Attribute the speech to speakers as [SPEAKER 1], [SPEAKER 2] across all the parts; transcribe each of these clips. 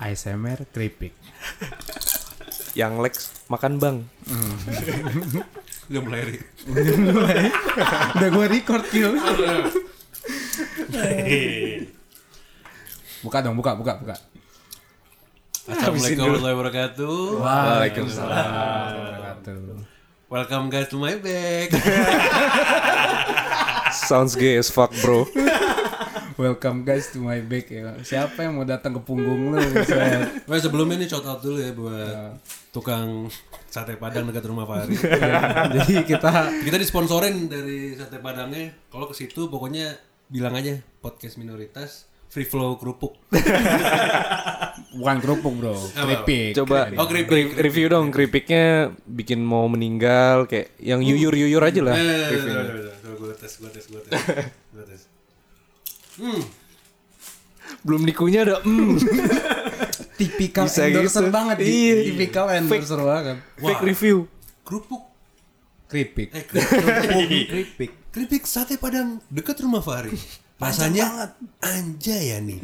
[SPEAKER 1] ASMR keripik.
[SPEAKER 2] Yang Lex makan bang.
[SPEAKER 3] Udah mulai ri.
[SPEAKER 1] Udah gue record kill. Buka dong, buka, buka, buka.
[SPEAKER 3] Assalamualaikum warahmatullahi wabarakatuh.
[SPEAKER 1] Satu.
[SPEAKER 3] Welcome guys to my back.
[SPEAKER 2] Sounds gay as fuck bro.
[SPEAKER 1] Welcome guys to my back ya. Siapa yang mau datang ke punggung lu? Buset.
[SPEAKER 3] Wah sebelumnya nih shout out dulu ya buat tukang sate padang dekat rumah Fahri.
[SPEAKER 1] Jadi kita
[SPEAKER 3] Kita disponsorin dari sate padangnya. Kalau ke situ pokoknya bilang aja podcast minoritas free flow kerupuk.
[SPEAKER 1] bukan kerupuk bro, keripik.
[SPEAKER 2] Coba
[SPEAKER 3] Oh, keripik,
[SPEAKER 2] re- review dong keripiknya bikin mau meninggal kayak yang yuyur-yuyur aja lah.
[SPEAKER 3] Eh, gue tes, gue tes, gue tes, gue tes. Hmm,
[SPEAKER 2] Belum dikunyah ada mm,
[SPEAKER 1] Tipikal
[SPEAKER 2] Bisa
[SPEAKER 1] endorser
[SPEAKER 2] gitu.
[SPEAKER 1] banget.
[SPEAKER 2] Iya.
[SPEAKER 1] Tipikal endorser banget.
[SPEAKER 2] fake review.
[SPEAKER 3] kerupuk.
[SPEAKER 1] Keripik.
[SPEAKER 3] Eh, kerupuk.
[SPEAKER 1] Keripik.
[SPEAKER 3] Keripik sate padang dekat rumah Fahri. Rasanya anjay ya nih.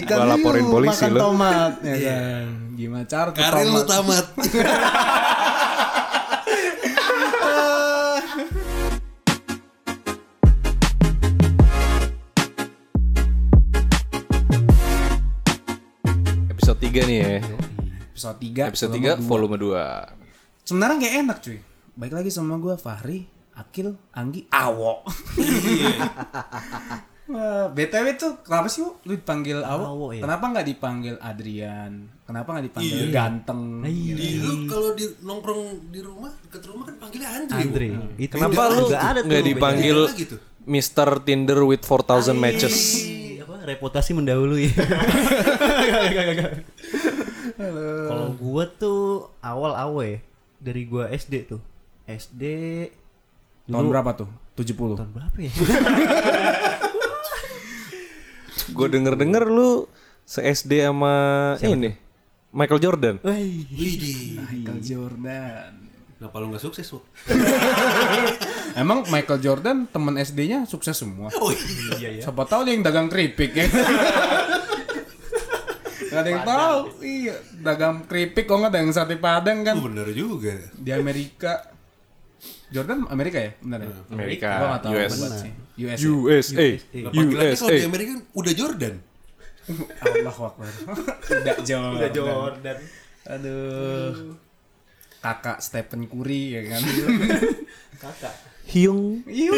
[SPEAKER 1] Ikan
[SPEAKER 2] Gua laporin
[SPEAKER 1] hiu
[SPEAKER 2] polisi
[SPEAKER 1] makan
[SPEAKER 2] lu.
[SPEAKER 1] tomat ya kan. Gimana cara ke
[SPEAKER 3] Karir lu
[SPEAKER 1] tomat?
[SPEAKER 3] tamat.
[SPEAKER 1] Iya.
[SPEAKER 2] Episode 3 nih ya.
[SPEAKER 1] Episode 3.
[SPEAKER 2] Episode 3 Ya, volume 2.
[SPEAKER 1] Sebenarnya kayak enak cuy. Baik lagi sama gue Fahri, Akil, Anggi, Awo. Wah, BTW tuh kenapa sih Wo? lu dipanggil Awo?
[SPEAKER 4] Awo, ya.
[SPEAKER 1] Kenapa nggak dipanggil Adrian? Kenapa nggak dipanggil Ganteng? Gitu.
[SPEAKER 3] Di lu kalau di nongkrong di rumah, dekat rumah kan panggilnya Andre.
[SPEAKER 4] Andre, itu
[SPEAKER 2] Kenapa
[SPEAKER 4] juga-
[SPEAKER 2] lu
[SPEAKER 4] juga ada tuh
[SPEAKER 2] nggak dipanggil
[SPEAKER 3] Beda gitu.
[SPEAKER 2] Mr. Tinder with 4000 matches?
[SPEAKER 4] bedanya. apa reputasi mendahului. Kalau gua tuh awal awal dari gua SD tuh. SD
[SPEAKER 1] Tahun berapa tuh? 70.
[SPEAKER 4] tahun berapa ya?
[SPEAKER 2] Gue denger-denger lu se-SD sama ini. Michael Jordan.
[SPEAKER 4] Wih,
[SPEAKER 3] Widih.
[SPEAKER 1] Michael Jordan.
[SPEAKER 3] Kenapa lu nggak sukses, Wak?
[SPEAKER 1] Emang Michael Jordan temen SD-nya sukses semua.
[SPEAKER 3] Oh iya.
[SPEAKER 1] Siapa tahu dia yang dagang keripik ya. Gak ada yang tahu. Iya, dagang keripik kok nggak dagang sate Padang kan
[SPEAKER 3] Oh, bener juga.
[SPEAKER 1] di Amerika. Jordan Amerika ya, benar ya?
[SPEAKER 2] Hmm, Amerika,
[SPEAKER 1] Gua nggak tahu
[SPEAKER 2] US.
[SPEAKER 1] banget sih. US. ya?
[SPEAKER 2] USA.
[SPEAKER 3] Nah, panggilannya kalau
[SPEAKER 2] USA.
[SPEAKER 3] di Amerika kan udah Jordan.
[SPEAKER 1] ya? Allahu Akbar. Udah Jordan. Udah
[SPEAKER 4] Jordan.
[SPEAKER 1] Aduh. Kakak Stephen Curry ya kan.
[SPEAKER 4] Kakak.
[SPEAKER 2] Hyung.
[SPEAKER 1] Iya.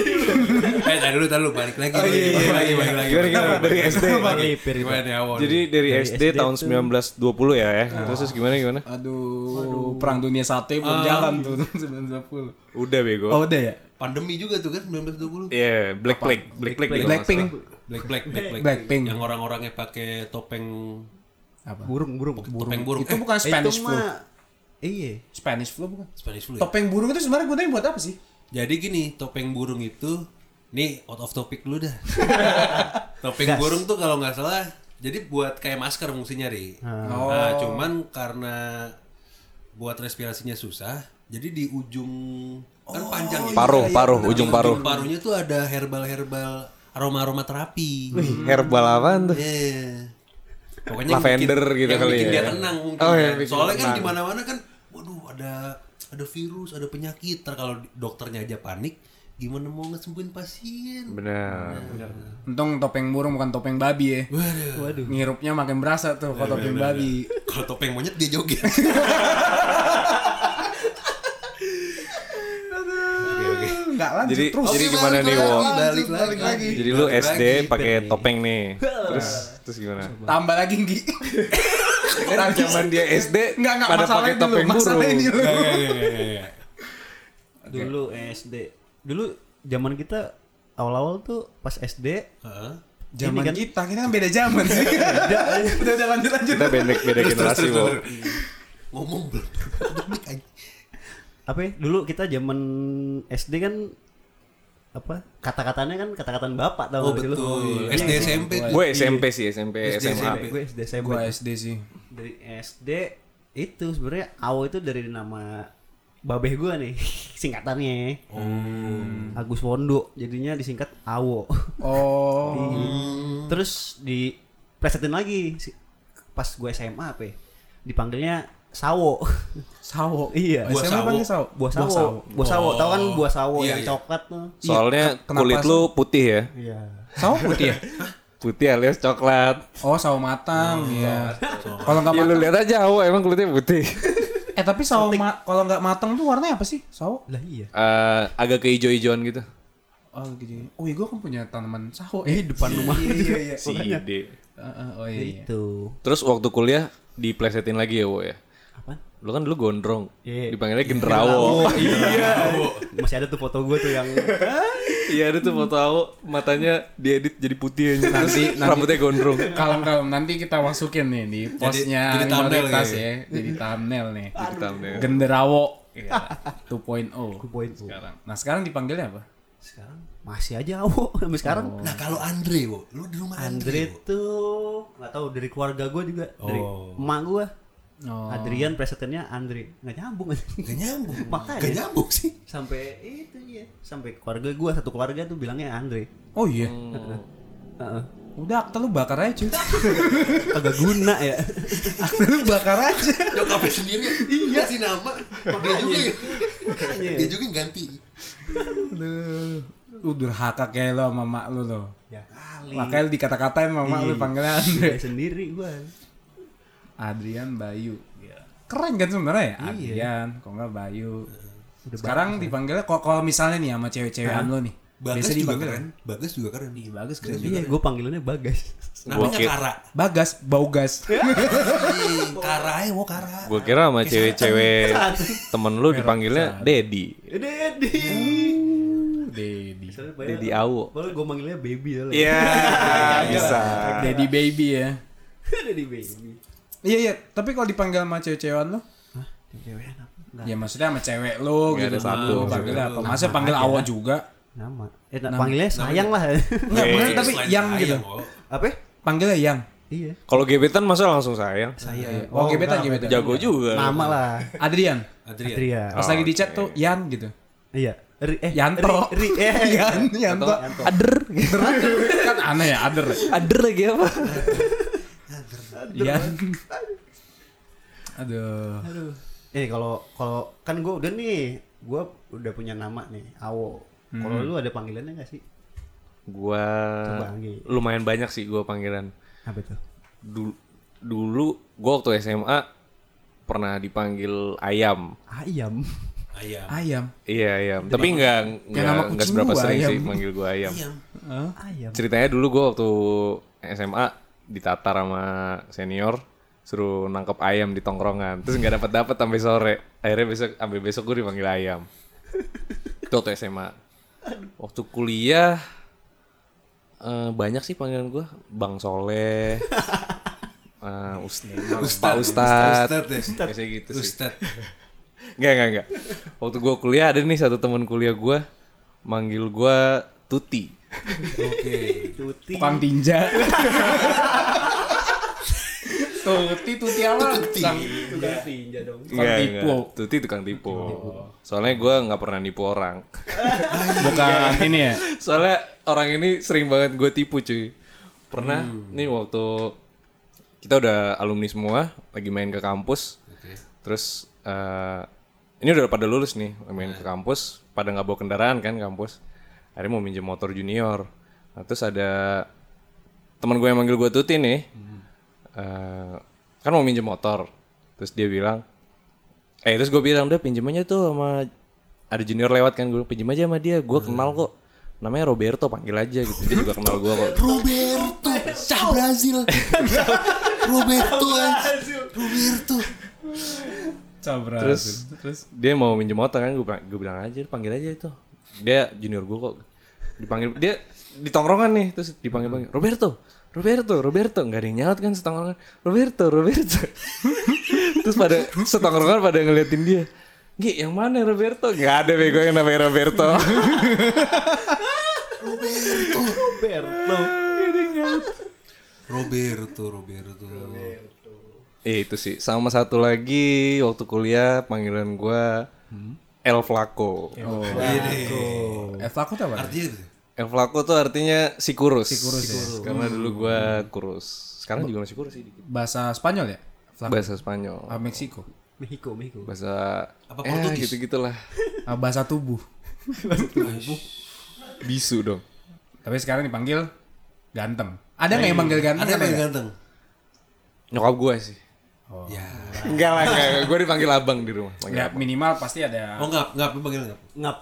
[SPEAKER 3] eh, tadi dulu, tadi dulu balik lagi. balik lagi, balik lagi, balik lagi.
[SPEAKER 2] Dari SD.
[SPEAKER 4] Melipir gitu.
[SPEAKER 3] Gimana nih awal?
[SPEAKER 2] Jadi Oh, dari, SD, tahun 1920 ya ya. Terus gimana gimana?
[SPEAKER 1] Aduh, perang dunia satu belum jalan tuh 1910.
[SPEAKER 2] Udah bego.
[SPEAKER 1] Oh, udah ya?
[SPEAKER 3] pandemi juga tuh kan 1920.
[SPEAKER 2] Iya, Black Plague, Black Plague. kalau nggak
[SPEAKER 1] Blackpink.
[SPEAKER 3] Black Black Black Black.
[SPEAKER 1] Blackpink.
[SPEAKER 3] Yang orang-orangnya pakai topeng
[SPEAKER 1] Apa?
[SPEAKER 4] Burung, burung. Eh,
[SPEAKER 3] topeng burung. Eh,
[SPEAKER 1] Itu bukan Spanish
[SPEAKER 4] Itu
[SPEAKER 1] flu.
[SPEAKER 4] mah iya.
[SPEAKER 1] Spanish flu bukan?
[SPEAKER 3] Spanish flu. ya?
[SPEAKER 1] Topeng burung itu sebenarnya gunanya buat apa sih?
[SPEAKER 3] Jadi gini, topeng burung itu nih out of topic dulu dah. topeng burung tuh kalau nggak salah jadi buat kayak masker fungsinya ri.
[SPEAKER 2] Ah.
[SPEAKER 3] Nah, cuman karena buat respirasinya susah, jadi di ujung kan panjang ya.
[SPEAKER 2] Paruh, paruh,
[SPEAKER 3] Nah,
[SPEAKER 2] ujung
[SPEAKER 3] di
[SPEAKER 2] paruh.
[SPEAKER 3] paruhnya tuh ada herbal-herbal aroma-aroma terapi.
[SPEAKER 2] salah. Hmm. Herbal apaan tuh?
[SPEAKER 3] Yeah. Iya, Pokoknya
[SPEAKER 2] Lavender
[SPEAKER 3] yang bikin,
[SPEAKER 2] gitu
[SPEAKER 3] yang
[SPEAKER 2] kali
[SPEAKER 3] bikin
[SPEAKER 2] ya.
[SPEAKER 3] dia tenang mungkin.
[SPEAKER 2] Oh,
[SPEAKER 3] kan.
[SPEAKER 2] yang bikin
[SPEAKER 3] Soalnya kan
[SPEAKER 2] tenang.
[SPEAKER 3] di mana-mana kan waduh ada ada virus, ada penyakit. Ntar kalau dokternya aja panik, gimana mau ngesembuhin pasien?
[SPEAKER 2] Benar.
[SPEAKER 1] Untung topeng burung bukan topeng babi ya.
[SPEAKER 3] Waduh.
[SPEAKER 4] Waduh.
[SPEAKER 1] Ngirupnya makin berasa tuh kalau
[SPEAKER 2] Iya,
[SPEAKER 1] topeng babi.
[SPEAKER 3] Kalau topeng monyet dia joget.
[SPEAKER 1] Enggak Hmm, lanjut
[SPEAKER 2] Jadi-
[SPEAKER 1] terus.
[SPEAKER 2] jadi gimana nih, Wo?
[SPEAKER 3] Balik lagi.
[SPEAKER 2] Jadi lu
[SPEAKER 3] Balik
[SPEAKER 2] SD
[SPEAKER 3] lagi.
[SPEAKER 2] pakai topeng nih. Terus terus gimana?
[SPEAKER 1] Tambah lagi Nggi.
[SPEAKER 2] Orang Nah, zaman dia SD
[SPEAKER 1] Enggak enggak
[SPEAKER 2] pada
[SPEAKER 1] masalah
[SPEAKER 2] pakai
[SPEAKER 1] ini lu,
[SPEAKER 2] topeng
[SPEAKER 1] masalah
[SPEAKER 2] burung.
[SPEAKER 1] ini lu.
[SPEAKER 4] Dulu SD. Dulu zaman kita awal-awal tuh pas SD
[SPEAKER 3] Heeh.
[SPEAKER 1] Zaman
[SPEAKER 4] Ini kan-
[SPEAKER 1] kita, kita kan beda zaman sih. udah, udah, udah lanjut lanjut.
[SPEAKER 2] iya. Kita bendek beda
[SPEAKER 3] Terus, terus,
[SPEAKER 2] generasi,
[SPEAKER 3] terus,
[SPEAKER 2] Wo.
[SPEAKER 3] terus. Ngomong belum. Duduk aja.
[SPEAKER 4] apa ya, dulu kita zaman SD kan apa kata-katanya kan kata-kataan bapak
[SPEAKER 3] Oh
[SPEAKER 4] tau gak sih lu?
[SPEAKER 3] betul.
[SPEAKER 4] Iya,
[SPEAKER 3] SD SMP.
[SPEAKER 2] Gue SMP sih, SMP,
[SPEAKER 3] SD,
[SPEAKER 2] SMA.
[SPEAKER 4] gue SD saya
[SPEAKER 1] Gua SD sih.
[SPEAKER 4] dari SD itu sebenarnya awo itu dari nama babeh gua nih singkatannya.
[SPEAKER 3] Oh.
[SPEAKER 2] Hmm.
[SPEAKER 4] Agus Wondo jadinya disingkat AWO.
[SPEAKER 1] Oh.
[SPEAKER 2] Iya.
[SPEAKER 3] Hmm.
[SPEAKER 4] Terus di presetin lagi si- pas gue SMA apa ya? Dipanggilnya Sawo.
[SPEAKER 1] Sawo.
[SPEAKER 4] iya.
[SPEAKER 3] Buah
[SPEAKER 1] SMA
[SPEAKER 3] sawo.
[SPEAKER 1] panggil sawo.
[SPEAKER 4] Buah sawo. Buah sawo. Tahu kan buah sawo
[SPEAKER 3] Iya,
[SPEAKER 4] yang
[SPEAKER 3] iya.
[SPEAKER 4] coklat tuh.
[SPEAKER 2] Soalnya
[SPEAKER 1] Iya, kenapa
[SPEAKER 2] kulit
[SPEAKER 1] sih?
[SPEAKER 2] lu putih ya.
[SPEAKER 4] Iya.
[SPEAKER 1] Sawo putih ya?
[SPEAKER 2] Putih alias coklat.
[SPEAKER 1] Oh, sawo matang, iya. Kalau nggak
[SPEAKER 2] Ya
[SPEAKER 1] matang.
[SPEAKER 2] Hmm. lu lihat aja Awo emang kulitnya putih.
[SPEAKER 1] Eh, tapi sawo ma- kalau nggak matang tuh warnanya apa sih? Sawo.
[SPEAKER 4] Lah iya.
[SPEAKER 2] Eh, agak keijo-ijoan gitu.
[SPEAKER 1] Oh, gitu. Oh, iya, gue kan punya tanaman sawo. Eh, depan rumah. Iya, iya, iya.
[SPEAKER 2] Si ide.
[SPEAKER 1] Eh, eh, oh iya. iya.
[SPEAKER 4] Ya Itu.
[SPEAKER 2] Terus waktu kuliah diplesetin lagi ya, Wo ya.
[SPEAKER 4] Apa?
[SPEAKER 2] Lu kan dulu gondrong.
[SPEAKER 4] Iya.
[SPEAKER 2] Dipanggilnya genderawo.
[SPEAKER 4] Iya. Masih ada tuh foto gue tuh yang
[SPEAKER 2] Iya, ada tuh foto Awo matanya diedit jadi putih aja. Terus
[SPEAKER 1] Nanti- nanti-
[SPEAKER 2] rambutnya gondrong.
[SPEAKER 1] Kalem-kalem nanti kita masukin nih di posnya
[SPEAKER 3] jadi thumbnail
[SPEAKER 1] minoritas
[SPEAKER 3] ya.
[SPEAKER 1] ya. Jadi thumbnail nih.
[SPEAKER 2] Di thumbnail.
[SPEAKER 1] Genderawo. Iya. 2.0
[SPEAKER 4] poin tuh.
[SPEAKER 1] sekarang. Nah, sekarang dipanggilnya apa?
[SPEAKER 4] Sekarang masih aja AWO sampai sekarang.
[SPEAKER 3] Nah kalau Andre, wo, lu di rumah Andre.
[SPEAKER 4] Andre tuh nggak tahu dari keluarga gue juga dari
[SPEAKER 3] Oh.
[SPEAKER 4] emak gue.
[SPEAKER 1] Oh.
[SPEAKER 4] Adrian presetinnya Andre nggak nyambung
[SPEAKER 3] Gak nyambung,
[SPEAKER 4] Makanya.
[SPEAKER 3] gak nyambung sih.
[SPEAKER 4] sampai itu ya sampai keluarga gue satu keluarga tuh bilangnya Andre.
[SPEAKER 1] Oh iya.
[SPEAKER 4] Heeh.
[SPEAKER 1] Udah akta lu bakar aja, cuy.
[SPEAKER 4] Agak guna ya.
[SPEAKER 1] akta lu bakar aja.
[SPEAKER 3] Nyokapnya sendiri iya sih nama. Dia juga, ya. dia juga yang ganti.
[SPEAKER 1] Lu lu durhaka kayak lo sama mak lu lo.
[SPEAKER 4] ya kali.
[SPEAKER 1] Makanya lu dikata-katain sama mak lu panggilnya Andre.
[SPEAKER 4] Gua Iya. sendiri gue.
[SPEAKER 1] Adrian Bayu. Keren kan sebenarnya ya? Adrian, kok nggak Bayu. Sekarang dipanggilnya kok kalau misalnya nih sama cewek-cewekan lo nih. biasa
[SPEAKER 3] Bagas juga
[SPEAKER 1] dipanggil
[SPEAKER 3] keren.
[SPEAKER 1] kan?
[SPEAKER 3] Bagas juga keren. Iya, Bagas keren
[SPEAKER 4] Iya gue panggilannya Bagas.
[SPEAKER 3] Namanya
[SPEAKER 2] Bokep.
[SPEAKER 3] Kara.
[SPEAKER 1] Bagas, bau gas.
[SPEAKER 3] Ih, Kara ya, wo Kara.
[SPEAKER 2] Gue kira sama cewek-cewek temen lu dipanggilnya Dedi.
[SPEAKER 4] Dedi.
[SPEAKER 1] Dedi.
[SPEAKER 2] Dedi Awo.
[SPEAKER 4] Kalau gue manggilnya baby ya, lah.
[SPEAKER 2] Iya, bisa.
[SPEAKER 1] Dedi baby ya.
[SPEAKER 4] Dedi baby.
[SPEAKER 1] Iya iya, tapi kalau dipanggil sama cewek-cewekan lo?
[SPEAKER 4] Cewek apa? Nggak.
[SPEAKER 1] Ya maksudnya sama cewek lo
[SPEAKER 2] Nggak
[SPEAKER 1] gitu.
[SPEAKER 2] ada satu.
[SPEAKER 1] Lu panggil apa?
[SPEAKER 4] Nama
[SPEAKER 1] Masa panggil
[SPEAKER 4] aja.
[SPEAKER 1] awal juga?
[SPEAKER 4] Nama. Eh, nah, panggilnya sayang lah.
[SPEAKER 1] Enggak,
[SPEAKER 2] Eh,
[SPEAKER 1] bener, tapi
[SPEAKER 3] Selain oh,
[SPEAKER 1] yang
[SPEAKER 3] sayang,
[SPEAKER 1] gitu.
[SPEAKER 3] wo.
[SPEAKER 4] apa?
[SPEAKER 1] Panggilnya yang.
[SPEAKER 4] Iya.
[SPEAKER 2] Kalau gebetan masa langsung sayang.
[SPEAKER 4] Saya.
[SPEAKER 1] Oh, gebetan, gebetan.
[SPEAKER 2] Jago juga.
[SPEAKER 4] Nama lah.
[SPEAKER 1] Adrian.
[SPEAKER 3] Adrian.
[SPEAKER 4] Adria.
[SPEAKER 1] Pas
[SPEAKER 2] Oh,
[SPEAKER 1] lagi di chat tuh Yan gitu.
[SPEAKER 4] Iya. Ri- eh
[SPEAKER 1] Yanto. Iya.
[SPEAKER 4] Ri, Ri- eh,
[SPEAKER 1] Yan, Yanto.
[SPEAKER 2] Ader.
[SPEAKER 1] kan aneh ya, Ader.
[SPEAKER 2] Ader lagi apa?
[SPEAKER 1] Yan. Aduh.
[SPEAKER 4] Aduh. Eh kalau kalau kan gue udah nih, gue udah punya nama nih, Awo. Kalau lu ada panggilannya gak sih?
[SPEAKER 2] Gua
[SPEAKER 4] Coba, Anggi.
[SPEAKER 2] lumayan banyak sih gua panggilan.
[SPEAKER 4] Apa tuh?
[SPEAKER 2] Dulu, dulu gua waktu SMA pernah dipanggil ayam.
[SPEAKER 4] Ayam.
[SPEAKER 3] Ayam.
[SPEAKER 1] Ayam.
[SPEAKER 2] Iya ayam. Tapi nggak nggak
[SPEAKER 1] nama
[SPEAKER 2] nggak
[SPEAKER 1] kucing
[SPEAKER 2] seberapa
[SPEAKER 1] gua,
[SPEAKER 2] sering
[SPEAKER 1] ayam.
[SPEAKER 2] sih manggil gua ayam.
[SPEAKER 3] Ayam.
[SPEAKER 4] Ayam.
[SPEAKER 2] Ceritanya dulu gua waktu SMA ditatar sama senior suruh nangkep ayam di tongkrongan terus nggak dapat dapat sampai sore akhirnya besok sampai besok gue dipanggil ayam itu waktu SMA waktu kuliah eh, banyak sih panggilan gua bang soleh eh, Ustaz, Pak Ustad,
[SPEAKER 3] Ustad ya.
[SPEAKER 2] kayak gitu sih.
[SPEAKER 3] Ustad.
[SPEAKER 2] Enggak, enggak, enggak. Waktu gua kuliah ada nih satu teman kuliah gua manggil gua Tuti.
[SPEAKER 3] Oke.
[SPEAKER 4] Tuti.
[SPEAKER 1] Tukang tinja. tuti, tuti apa?
[SPEAKER 3] Tuti.
[SPEAKER 1] Sang-
[SPEAKER 4] Tukang tinja dong.
[SPEAKER 1] Tukang
[SPEAKER 2] Iya,
[SPEAKER 1] tipu.
[SPEAKER 2] Tuti tukang tipu. Soalnya gua nggak pernah nipu orang.
[SPEAKER 1] Bukan ini ya?
[SPEAKER 2] Soalnya orang ini sering banget gue tipu cuy. Pernah nih waktu kita udah alumni semua lagi main ke kampus.
[SPEAKER 3] Oke.
[SPEAKER 2] Terus eh, ini udah pada lulus nih main ke kampus, pada nggak bawa kendaraan kan kampus. Akhirnya mau minjem motor junior. Nah, terus ada teman gue yang manggil gue Tuti nih. eh, kan mau minjem motor. Terus dia bilang eh terus gue bilang udah pinjem aja tuh sama ada junior lewat kan gue bilang, pinjem aja sama dia. Gue kenal kok. Namanya Roberto panggil aja gitu. Dia juga kenal gue kok.
[SPEAKER 3] Roberto, Cah Brazil. Roberto, anjing. Roberto.
[SPEAKER 1] Cabra.
[SPEAKER 2] terus dia mau minjem motor kan gue bilang, gua bilang aja panggil aja itu dia junior gue kok dipanggil dia di tongkrongan nih terus dipanggil panggil Roberto Roberto Roberto nggak ada yang nyaut kan setongkrongan Roberto Roberto terus pada setongkrongan pada ngeliatin dia Gi, yang mana Roberto? Gak ada bego yang namanya Roberto.
[SPEAKER 4] Roberto.
[SPEAKER 3] Roberto, Roberto.
[SPEAKER 2] Iya, Eh, itu sih. Sama satu lagi waktu kuliah panggilan gua El Flaco.
[SPEAKER 1] Oh. Eh, aku tuh apa?
[SPEAKER 3] Artinya gitu.
[SPEAKER 2] El Flaco tuh artinya si kurus. Hmm. Si
[SPEAKER 1] kurus ya.
[SPEAKER 2] Karena dulu gua kurus. Sekarang juga masih kurus sih. dikit.
[SPEAKER 1] Bahasa Spanyol ya? Flaco.
[SPEAKER 2] Bahasa Spanyol.
[SPEAKER 1] Ah, Meksiko.
[SPEAKER 4] Mexico, Mexico.
[SPEAKER 2] Bahasa
[SPEAKER 3] Apa
[SPEAKER 2] eh,
[SPEAKER 3] Portugis?
[SPEAKER 2] gitu-gitulah.
[SPEAKER 1] Ah, bahasa tubuh.
[SPEAKER 2] Bisu dong.
[SPEAKER 1] Tapi sekarang dipanggil ganteng. Ada nggak yang manggil ganteng? ya?
[SPEAKER 3] Ada ya? yang
[SPEAKER 1] nggak?
[SPEAKER 3] ganteng.
[SPEAKER 2] Nyokap gua sih.
[SPEAKER 3] Ya.
[SPEAKER 2] Enggak lah, enggak. enggak. Gua dipanggil abang di rumah. Panggil
[SPEAKER 1] Ya,
[SPEAKER 2] abang.
[SPEAKER 1] minimal pasti ada
[SPEAKER 3] Oh ngap, ngap, lu panggil ngap.
[SPEAKER 4] Ngap.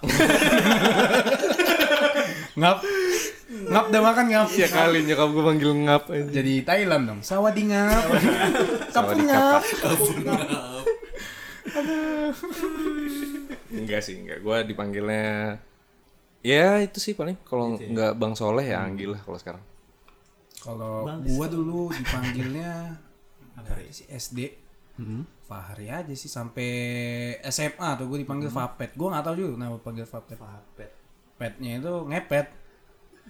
[SPEAKER 1] ngap. Ngap udah makan ngap.
[SPEAKER 2] Ya kali nyokap gua panggil ngap aja.
[SPEAKER 1] Jadi Thailand dong. Sawadee ngap. Kapung
[SPEAKER 2] Sawadee
[SPEAKER 1] ngap.
[SPEAKER 2] Enggak sih, enggak. Gua dipanggilnya Ya itu sih paling kalau enggak Bang Soleh ya Anggi lah kalau sekarang.
[SPEAKER 1] Kalau gua dulu dipanggilnya apa sih SD. Fahri aja sih sampai SMA tuh gua dipanggil Fapet. Gua nggak tahu juga kenapa panggil Fapet. Petnya itu ngepet.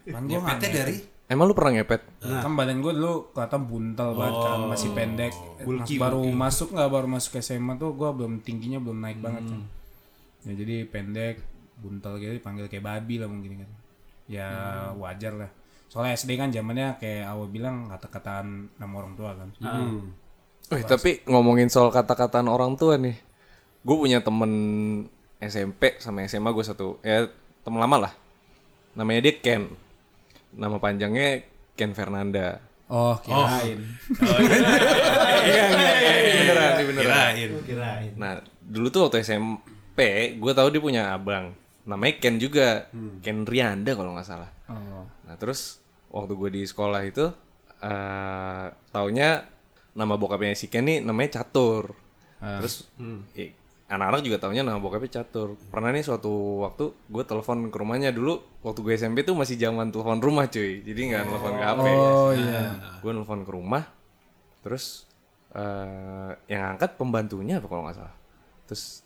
[SPEAKER 1] Panggil
[SPEAKER 3] Ngepetnya dari
[SPEAKER 2] Emang lu pernah ngepet?
[SPEAKER 1] Kan badan gue dulu kelihatan buntel banget kan, masih pendek. Mas- baru masuk nggak baru masuk SMA tuh gue belum tingginya belum naik banget kan. Ya jadi pendek, buntel gitu dipanggil kayak babi lah mungkin kan. Ya wajar lah. Soalnya SD kan zamannya kayak awal bilang kata-kataan nama orang tua kan.
[SPEAKER 2] Eh, tapi ngomongin soal kata-kataan orang tua nih. Gue punya temen SMP sama SMA gue satu. Ya, temen lama lah. Namanya dia Ken. Nama panjangnya Ken Fernanda.
[SPEAKER 1] Oh, kirain.
[SPEAKER 2] Beneran, ini beneran.
[SPEAKER 3] kirain.
[SPEAKER 4] Kirain.
[SPEAKER 2] Nah, dulu tuh waktu SMP, gue tahu dia punya abang. Namanya Ken juga. Ken Rianda kalau nggak salah.
[SPEAKER 1] Oh.
[SPEAKER 2] Nah, terus waktu gue di sekolah itu, eh taunya nama bokapnya si Ken nih namanya Catur.
[SPEAKER 1] Ah.
[SPEAKER 2] Terus i- anak-anak juga taunya nama bokapnya Catur. Pernah nih suatu waktu gue telepon ke rumahnya dulu. Waktu gue SMP tuh masih zaman telepon rumah cuy. Jadi nggak telepon ke HP.
[SPEAKER 1] Oh iya.
[SPEAKER 2] Gue nelfon ke rumah. Terus eh yang angkat pembantunya apa kalau nggak salah. Terus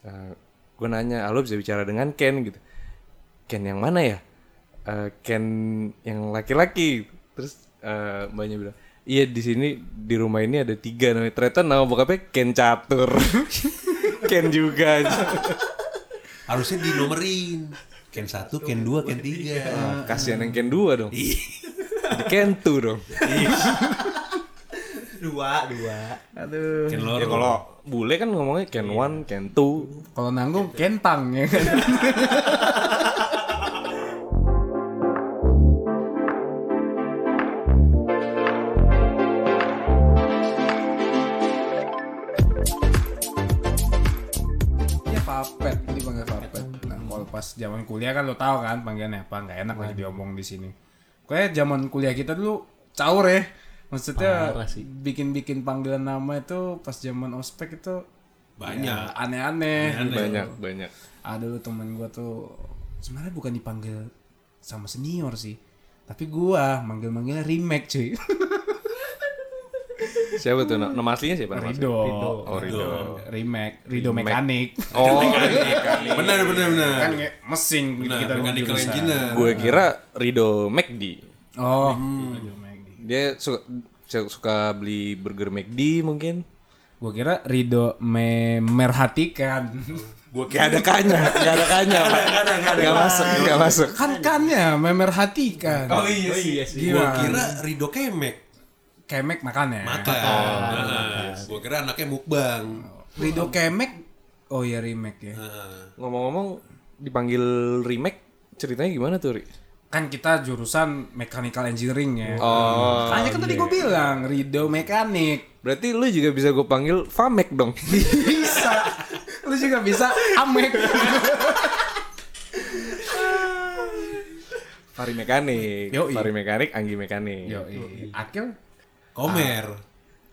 [SPEAKER 2] gue nanya, "Ah, lo bisa bicara dengan Ken gitu. Ken yang mana ya? Eh, Ken yang laki-laki. Terus eh, mbaknya bilang, iya di sini di rumah ini ada tiga namanya. Ternyata nama bokapnya Ken Catur. Ken juga.
[SPEAKER 3] Harusnya dinomerin. Ken 1, Ken 2, Ken 3.
[SPEAKER 2] Kasihan yang Ken dua dong. Jadi Ken tuh dong.
[SPEAKER 4] Dua, dua.
[SPEAKER 2] Aduh.
[SPEAKER 3] Ken
[SPEAKER 2] Ya
[SPEAKER 3] loro.
[SPEAKER 2] kalau bule kan ngomongnya Ken one, Ken two.
[SPEAKER 1] Kalau nanggung kentang ya kan. Ya papet, ini panggil papet. Nah, kalau pas zaman kuliah kan lo tau kan panggilannya apa nggak enak
[SPEAKER 4] Nah.
[SPEAKER 1] lagi diomong di sini. Kayak zaman kuliah kita dulu caur ya. Maksudnya
[SPEAKER 4] Parah sih.
[SPEAKER 1] bikin-bikin panggilan nama itu pas zaman ospek itu
[SPEAKER 3] Banyak.
[SPEAKER 1] ya, aneh-aneh.
[SPEAKER 4] Iya,
[SPEAKER 3] Iya.
[SPEAKER 2] Banyak, banyak.
[SPEAKER 1] Ada lu temen gua tuh sebenarnya bukan dipanggil sama senior sih. Tapi gua manggil-manggilnya remake cuy.
[SPEAKER 2] Siapa tuh? Nama aslinya siapa? Nama aslinya?
[SPEAKER 1] Rido.
[SPEAKER 2] Oh, Rido.
[SPEAKER 1] Remake, Rido mekanik.
[SPEAKER 2] Oh,
[SPEAKER 3] Benar, benar, benar.
[SPEAKER 1] Kan kayak mesin gitu
[SPEAKER 3] Benar,
[SPEAKER 1] kita dulu
[SPEAKER 3] mechanical
[SPEAKER 1] jurusan.
[SPEAKER 3] engineer.
[SPEAKER 2] gue kira Rido McD.
[SPEAKER 1] Oh, Rido McD.
[SPEAKER 2] Dia suka su- suka beli burger McD mungkin.
[SPEAKER 1] Gua kira Rido memerhatikan.
[SPEAKER 2] Gue kayak ada kanya, gak ada kanya, Pak. Gak masuk, gak masuk.
[SPEAKER 1] kan kannya memerhatikan.
[SPEAKER 3] Oh iya sih.
[SPEAKER 1] Gila.
[SPEAKER 3] Gua kira Rido kemek.
[SPEAKER 1] Kemek ya? makannya.
[SPEAKER 3] Makan. Nah, Gua kira anaknya mukbang.
[SPEAKER 1] Rido Kemek. Oh iya remake ya.
[SPEAKER 3] Nah,
[SPEAKER 2] Ngomong-ngomong, dipanggil remake, ceritanya gimana tuh, Ri?
[SPEAKER 1] kan kita jurusan mechanical engineering ya.
[SPEAKER 2] Oh,
[SPEAKER 1] Makanya kan
[SPEAKER 3] iya,
[SPEAKER 1] tadi gue bilang Rido mekanik.
[SPEAKER 2] Berarti lu juga bisa gue panggil Famek dong.
[SPEAKER 1] Bisa. Lu juga bisa amek.
[SPEAKER 2] Pari mekanik,
[SPEAKER 1] Yoi.
[SPEAKER 2] pari mekanik, Anggi mekanik.
[SPEAKER 1] Yo, akil.
[SPEAKER 3] Komer.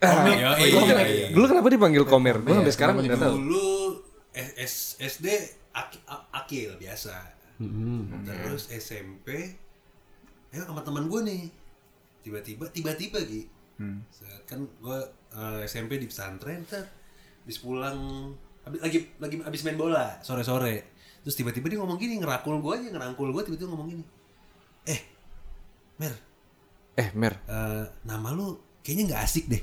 [SPEAKER 3] Yo, iya.
[SPEAKER 2] Dulu kenapa dipanggil Komer? Gue sampai sekarang nggak tahu.
[SPEAKER 3] Dulu S- S- SD ak- a- akil biasa. Terus SMP eh sama teman gue nih. Tiba-tiba tiba-tiba Gi. Saat Kan gue SMP di pesantren ter habis pulang habis- lagi lagi habis main bola sore-sore. Terus tiba-tiba dia ngomong gini, ngerangkul gue aja, ngerangkul gue tiba-tiba ngomong gini. Eh, Mer,
[SPEAKER 2] Eh, Mer,
[SPEAKER 3] eh, nama lu kayaknya nggak asik deh.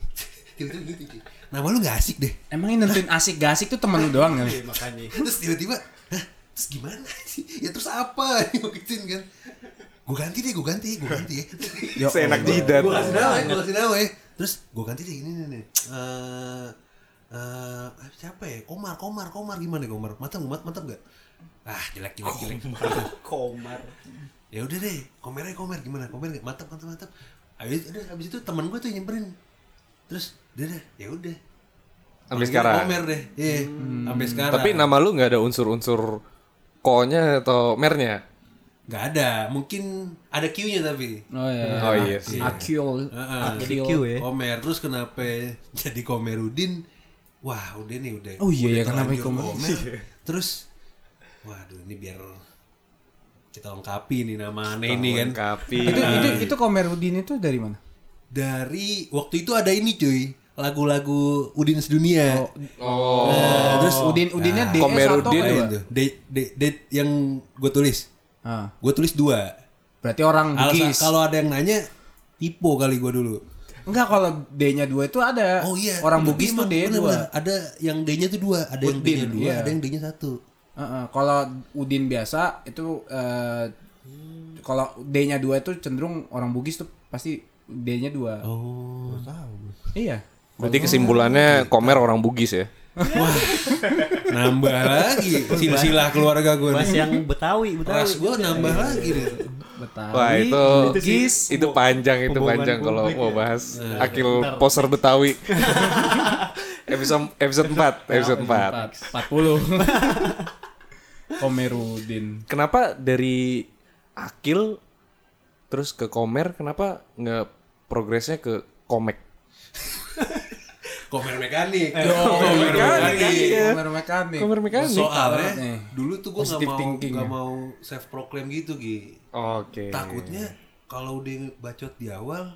[SPEAKER 3] tiba-tiba gitu Ki. nama lu nggak asik deh
[SPEAKER 1] Emang ini nentuin asik gak asik tuh temen lu doang kan?
[SPEAKER 4] Iya, makanya.
[SPEAKER 3] terus tiba-tiba "Hah, terus gimana sih ya terus apa gue gituin kan gue ganti deh gue ganti gue ganti ya
[SPEAKER 1] Ya
[SPEAKER 2] Seenak
[SPEAKER 1] Allah.
[SPEAKER 2] jidat.
[SPEAKER 3] gue kasih nama ya gue kasih nama ya terus gue ganti deh gini nih nih Eh, eh, siapa ya Komar Komar Komar gimana ya Komar mantap mantap mantap gak ah jelek jelek jelek
[SPEAKER 4] Komar.
[SPEAKER 3] ya udah deh komernya komer gimana komer nggak? mantap mantap mantap abis, udah, abis itu teman gue tuh yang nyamperin terus udah deh ya udah
[SPEAKER 2] Sampai
[SPEAKER 3] Panggil
[SPEAKER 2] sekarang.
[SPEAKER 3] komer deh iya
[SPEAKER 4] Hmm.
[SPEAKER 3] sampai sekarang
[SPEAKER 2] Tapi nama lu nggak ada unsur-unsur ko-nya atau mernya.
[SPEAKER 3] nggak ada mungkin ada Q nya tapi
[SPEAKER 1] Oh iya.
[SPEAKER 2] Oh iya sih.
[SPEAKER 1] Akil.
[SPEAKER 3] Heeh.
[SPEAKER 4] Jadi Q ya.
[SPEAKER 3] komer terus kenapa jadi komerudin wah udah nih udah
[SPEAKER 1] Oh iya,
[SPEAKER 3] Udah
[SPEAKER 1] ya, kenapa
[SPEAKER 3] terlanjur
[SPEAKER 1] komer?
[SPEAKER 3] terus waduh ini biar kita lengkapi nih nama aneh ini kan
[SPEAKER 2] Kapi.
[SPEAKER 1] Itu itu itu Komerudin itu dari mana?
[SPEAKER 3] dari waktu itu ada ini cuy lagu-lagu Udin sedunia Nah,
[SPEAKER 2] Oh.
[SPEAKER 1] Oh. Terus Udin Udinnya E DS
[SPEAKER 3] Ah.
[SPEAKER 1] atau
[SPEAKER 2] Komerudin
[SPEAKER 1] kedua?
[SPEAKER 3] Lain tuh. De- de- de- yang gue tulis
[SPEAKER 1] Ah,
[SPEAKER 3] gue tulis dua
[SPEAKER 1] berarti orang
[SPEAKER 3] Alasan-
[SPEAKER 1] Bugis.
[SPEAKER 3] kalau ada yang nanya tipu kali gue dulu
[SPEAKER 1] Enggak kalau D-nya dua itu ada.
[SPEAKER 3] oh iya
[SPEAKER 1] Orang
[SPEAKER 3] bener,
[SPEAKER 1] Bugis tuh
[SPEAKER 3] emang,
[SPEAKER 1] D
[SPEAKER 3] bener-bener.
[SPEAKER 1] dua.
[SPEAKER 3] ada yang d nya tuh dua ada yang d
[SPEAKER 1] Udin,
[SPEAKER 3] nya dua
[SPEAKER 1] iya.
[SPEAKER 3] ada yang d nya satu
[SPEAKER 1] Heeh, kalau Udin biasa itu eh, kalau D-nya dua itu cenderung orang Bugis tuh pasti D-nya dua.
[SPEAKER 3] oh
[SPEAKER 1] Iya.
[SPEAKER 2] Berarti kesimpulannya komer orang Bugis ya.
[SPEAKER 3] nambah lagi silsilah keluarga gue
[SPEAKER 4] Mas
[SPEAKER 3] nih
[SPEAKER 4] yang Betawi, Betawi.
[SPEAKER 3] Iya. ras gue nambah lagi nih
[SPEAKER 1] Betawi.
[SPEAKER 2] Wah, itu
[SPEAKER 1] Bugis.
[SPEAKER 2] itu panjang itu
[SPEAKER 4] Pembohongan
[SPEAKER 2] panjang kalau
[SPEAKER 4] publik
[SPEAKER 2] mau
[SPEAKER 4] ya.
[SPEAKER 2] bahas akil poser Betawi. episode episode 4, episode 4.
[SPEAKER 1] 40. Komerudin.
[SPEAKER 2] Kenapa dari akil terus ke komer kenapa nggak progresnya ke komek?
[SPEAKER 3] komer mekanik
[SPEAKER 1] Komer Eh, mekanik.
[SPEAKER 2] Komer mekanik.
[SPEAKER 1] Nih.
[SPEAKER 3] soalnya dulu tuh gue nggak
[SPEAKER 1] Positive
[SPEAKER 3] mau
[SPEAKER 1] thinking.
[SPEAKER 3] nggak mau self proclaim gitu Gi
[SPEAKER 2] Oke.
[SPEAKER 3] takutnya kalau udah bacot di awal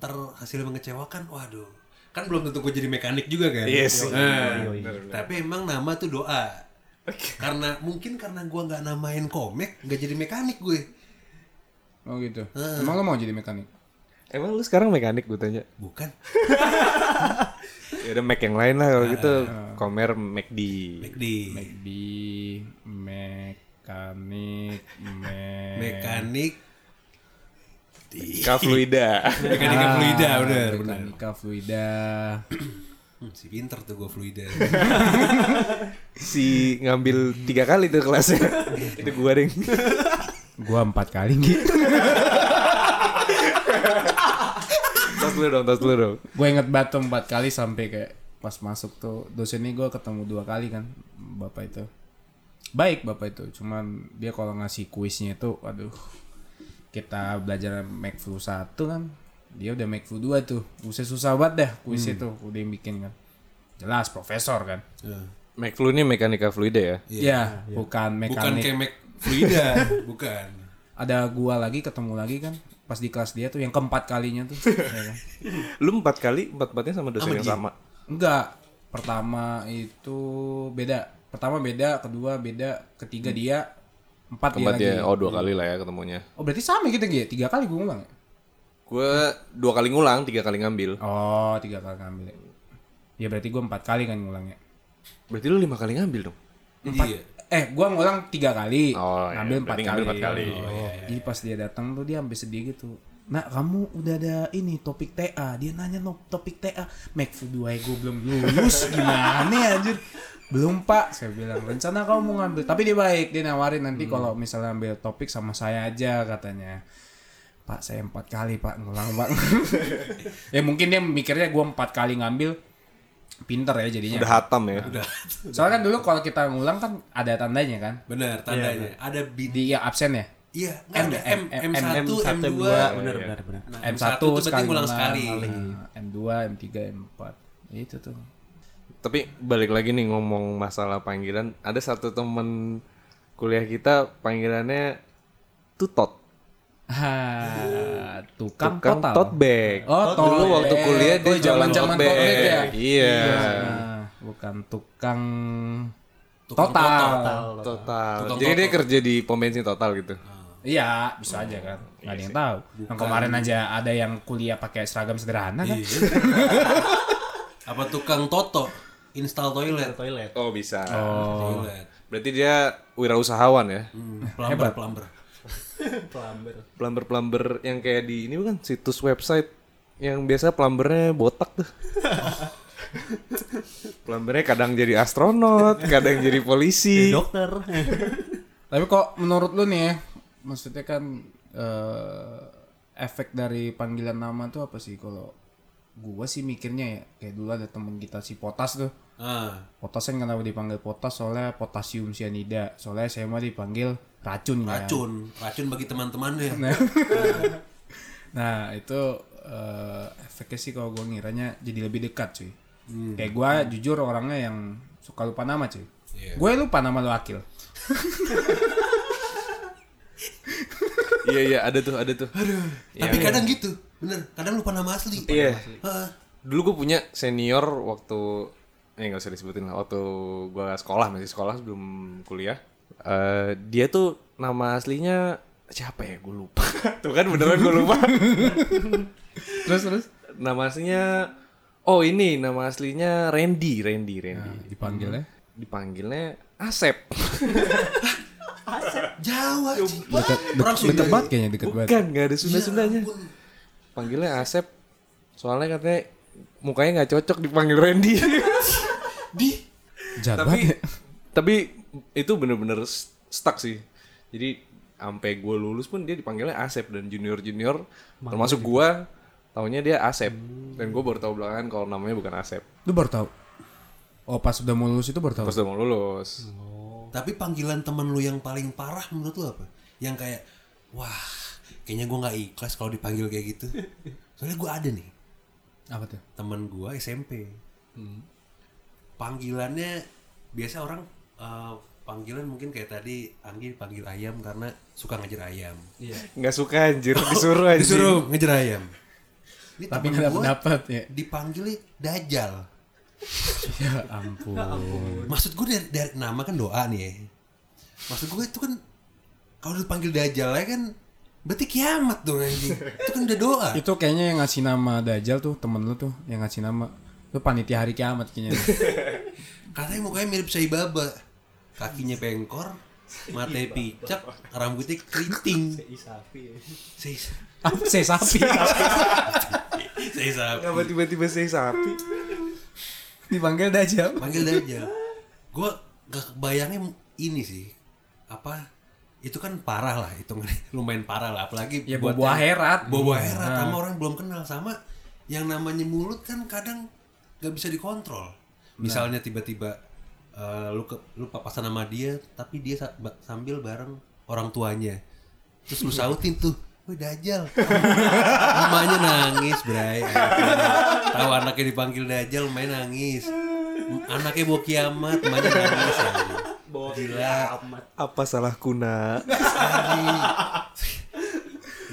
[SPEAKER 3] ntar hasilnya mengecewakan waduh kan belum tentu gue jadi mekanik juga kan
[SPEAKER 1] Iya
[SPEAKER 2] Yes.
[SPEAKER 3] Nah, tapi emang nama tuh doa karena mungkin karena gua nggak namain komek nggak jadi mekanik gue
[SPEAKER 1] Oh gitu.
[SPEAKER 3] Ah.
[SPEAKER 1] Emang lo mau jadi mekanik?
[SPEAKER 2] Emang lu sekarang mekanik gue tanya.
[SPEAKER 3] bukan
[SPEAKER 2] Ya udah Mac yang lain lah kalau gitu. Komer McD.
[SPEAKER 3] McD
[SPEAKER 1] Di mekanik me
[SPEAKER 3] mekanik
[SPEAKER 2] Ka Fluida.
[SPEAKER 3] Ah, mekanik fluida bener bener
[SPEAKER 1] mekanika fluida.
[SPEAKER 3] Hmm, si pinter tuh gue fluida Eh,
[SPEAKER 2] si ngambil tiga kali tuh kelasnya. itu gua ding.
[SPEAKER 1] Gua empat kali gitu.
[SPEAKER 2] Tas dulu dong, tas dulu dong.
[SPEAKER 1] Gua inget batu empat kali sampai kayak pas masuk tuh dosennya gua ketemu dua kali kan bapak itu. Baik bapak itu, cuman dia kalau ngasih kuisnya itu, aduh kita belajar MacFlu 1 kan dia udah MacFlu 2 tuh usai susah banget dah kuis itu udah yang bikin kan jelas profesor kan
[SPEAKER 3] Nah,
[SPEAKER 2] McFlu ini mekanika fluida ya.
[SPEAKER 1] ya bukan
[SPEAKER 3] bukan
[SPEAKER 1] mekanik
[SPEAKER 3] kayak Mac fluida bukan
[SPEAKER 1] ada gua lagi ketemu lagi kan pas di kelas dia tuh yang keempat kalinya tuh ya kan?
[SPEAKER 2] Lu empat kali, empat-empatnya sama Iya, dosen yang sama.
[SPEAKER 1] enggak pertama itu beda pertama beda kedua beda ketiga dia empat dia
[SPEAKER 2] Empat
[SPEAKER 1] lagi
[SPEAKER 2] ya, oh dua kali lah ya ketemunya.
[SPEAKER 1] oh berarti sama gitu gitu ya? tiga kali gua ngulang ya?
[SPEAKER 2] Gua dua kali ngulang, tiga kali ngambil.
[SPEAKER 1] oh tiga kali ngambil ya. ya berarti gua empat kali kan ngulangnya
[SPEAKER 2] Berarti lu lima kali ngambil dong.
[SPEAKER 3] iya
[SPEAKER 1] Eh, gua ngulang tiga kali,
[SPEAKER 2] Oh, iya.
[SPEAKER 1] ngambil empat
[SPEAKER 2] Berarti
[SPEAKER 1] kali.
[SPEAKER 2] ngambil empat kali.
[SPEAKER 1] Oh, Jadi pas dia datang tuh dia sampai sedih gitu. Nah, kamu udah ada ini topik TA. Dia nanya no, topik TA. Macfu 2 gue belum lulus gimana ya, anjir. Belum, Pak. Saya bilang rencana kamu mau ngambil. Tapi dia baik, dia nawarin
[SPEAKER 2] Hmm.
[SPEAKER 1] nanti kalau misalnya ambil topik sama saya aja katanya. Pak, saya empat kali, Pak. Ngulang, Pak. ya mungkin dia mikirnya gua empat kali ngambil. Pinter ya jadinya.
[SPEAKER 2] Udah hatam ya.
[SPEAKER 3] udah
[SPEAKER 1] Soalnya kan dulu kalau kita ngulang kan ada tandanya kan.
[SPEAKER 3] Iya, benar tandanya ada bid
[SPEAKER 1] Di ya, absen ya?
[SPEAKER 3] Iya, M, ada M, M, M1, M2,
[SPEAKER 4] M2, benar benar benar.
[SPEAKER 3] Nah,
[SPEAKER 1] M1,
[SPEAKER 3] M1 itu berarti
[SPEAKER 1] sekali
[SPEAKER 3] ngulang
[SPEAKER 1] ulang,
[SPEAKER 3] sekali. Iya.
[SPEAKER 1] nah, M2, M3, M4. Itu tuh.
[SPEAKER 2] Tapi balik lagi nih ngomong masalah panggilan, ada satu temen kuliah kita panggilannya Tutot.
[SPEAKER 1] Ah, tukang,
[SPEAKER 2] Tukang
[SPEAKER 1] total.
[SPEAKER 2] tote bag.
[SPEAKER 1] Oh, tote
[SPEAKER 2] dulu waktu
[SPEAKER 1] bag.
[SPEAKER 2] kuliah dia
[SPEAKER 1] Oh,
[SPEAKER 2] jualan
[SPEAKER 1] zaman-zaman
[SPEAKER 2] tote bag.
[SPEAKER 1] tote bag ya?
[SPEAKER 2] Iya.
[SPEAKER 1] Nah, bukan tukang,
[SPEAKER 3] Tukang
[SPEAKER 1] total.
[SPEAKER 2] Total. Jadi dia kerja di pom bensin total gitu.
[SPEAKER 1] Iya, bisa aja kan. Gak ada yang tahu. Yang kemarin aja ada yang kuliah pakai seragam sederhana kan.
[SPEAKER 3] apa tukang toto install toilet
[SPEAKER 4] toilet.
[SPEAKER 2] Oh bisa.
[SPEAKER 3] toilet
[SPEAKER 2] Berarti dia wirausahawan ya.
[SPEAKER 3] hmm, plumber plumber
[SPEAKER 4] Plumber.
[SPEAKER 2] Plumber-plumber yang kayak di ini bukan situs website yang biasa plumbernya botak tuh. plumbernya kadang jadi astronot, kadang jadi polisi.
[SPEAKER 4] Eh, Dokter.
[SPEAKER 1] Tapi kok menurut lu nih ya, maksudnya kan eh, efek dari panggilan nama tuh apa sih kalau gua sih mikirnya ya kayak dulu ada temen kita si Potas tuh.
[SPEAKER 3] ah
[SPEAKER 1] Potas kan kenapa dipanggil Potas soalnya potasium sianida. Soalnya saya mah dipanggil racun ya.
[SPEAKER 3] racun racun bagi teman-temannya
[SPEAKER 1] Iya. Nah, itu eh, efeknya sih kalau gua ngiranya jadi lebih dekat cuy. Kayak gua jujur orangnya yang suka lupa nama cuy.
[SPEAKER 3] Iya.
[SPEAKER 1] Gue lupa nama lu Akil.
[SPEAKER 2] Iya iya ada tuh ada tuh.
[SPEAKER 3] tapi
[SPEAKER 1] Iya.
[SPEAKER 3] kadang gitu bener kadang lupa nama asli Ah,
[SPEAKER 2] Iya.
[SPEAKER 3] Heeh.
[SPEAKER 2] Dulu gue punya senior waktu ya nggak usah disebutin lah waktu gue sekolah masih sekolah sebelum kuliah. Eh, dia tuh nama aslinya siapa ya? Gue lupa. tuh kan beneran gue lupa.
[SPEAKER 1] Terus terus
[SPEAKER 2] nama aslinya oh ini nama aslinya Randy Randy Randy.
[SPEAKER 1] Ya. dipanggilnya
[SPEAKER 2] Dipanggilnya Asep.
[SPEAKER 3] Jawa sih
[SPEAKER 1] dekat
[SPEAKER 3] orang
[SPEAKER 1] deket,
[SPEAKER 3] Sunda
[SPEAKER 1] deket banget ya. kayaknya deket banget.
[SPEAKER 2] Bukan nggak ada sunda sundanya. Panggilnya Asep. Soalnya katanya mukanya nggak cocok dipanggil Randy.
[SPEAKER 3] di
[SPEAKER 1] Jahat
[SPEAKER 2] tapi
[SPEAKER 1] banget. ya.
[SPEAKER 2] tapi itu bener-bener s- stuck sih jadi sampai gue lulus pun dia dipanggilnya Asep dan junior junior termasuk gue taunya dia Asep dan gue baru tahu belakangan kalau namanya bukan Asep
[SPEAKER 1] Lu baru tahu. Oh, pas udah mau lulus itu baru tahu.
[SPEAKER 2] pas udah mau lulus
[SPEAKER 3] Tapi panggilan temen lu yang paling parah menurut lu apa? Yang kayak, wah, kayaknya gue nggak ikhlas kalau dipanggil kayak gitu. Soalnya gue ada nih
[SPEAKER 1] Apa tuh?
[SPEAKER 3] temen gue SMP.
[SPEAKER 1] Hmm.
[SPEAKER 3] Panggilannya biasa orang eh, panggilan mungkin kayak tadi Anggi panggil ayam karena suka ngejar ayam.
[SPEAKER 1] Iya.
[SPEAKER 2] nggak suka anjir disuruh anjir
[SPEAKER 3] Disuruh ngejar ayam. Ini
[SPEAKER 1] Tapi
[SPEAKER 3] temen
[SPEAKER 1] nggak
[SPEAKER 3] gua
[SPEAKER 1] dapat ya.
[SPEAKER 3] Dipanggilnya Dajjal.
[SPEAKER 1] Ya ampun.
[SPEAKER 3] Maksud gue dari, dari nama kan doa nih ya. Maksud gue itu kan kalau dipanggil dajal ya kan berarti kiamat dong anjing. itu kan udah doa.
[SPEAKER 1] itu kayaknya yang ngasih nama Dajjal tuh temen lu tuh yang ngasih nama. Lu panitia hari kiamat kayaknya.
[SPEAKER 3] Katanya mukanya mirip Sai Baba. Kakinya bengkor, matanya picak, rambutnya keriting. Sei sapi.
[SPEAKER 1] Apa sih sapi?
[SPEAKER 3] Sei sapi.
[SPEAKER 2] Kenapa tiba-tiba saya sapi
[SPEAKER 1] Dipanggil Dajjal.
[SPEAKER 3] Panggil dajal. Gue gak bayangin ini sih. Apa itu kan parah lah hitungannya lumayan parah lah apalagi
[SPEAKER 1] Ya
[SPEAKER 3] buat
[SPEAKER 1] buah
[SPEAKER 3] yang-
[SPEAKER 1] herat. Hmm.
[SPEAKER 3] Bobo herat sama orang yang belum kenal sama yang namanya mulut kan kadang nggak bisa dikontrol. Misalnya tiba-tiba eh, lu ke, lu papasan sama dia tapi dia sa- ba- sambil bareng orang tuanya. Terus lu sautin tuh, "Woi Dajal." Mamanya nangis, Bray. Tahu anaknya dipanggil Dajal main nangis. Anaknya bawa kiamat, mamanya nangis. anjing. Gila.
[SPEAKER 2] apa salahku nak
[SPEAKER 3] Anjing.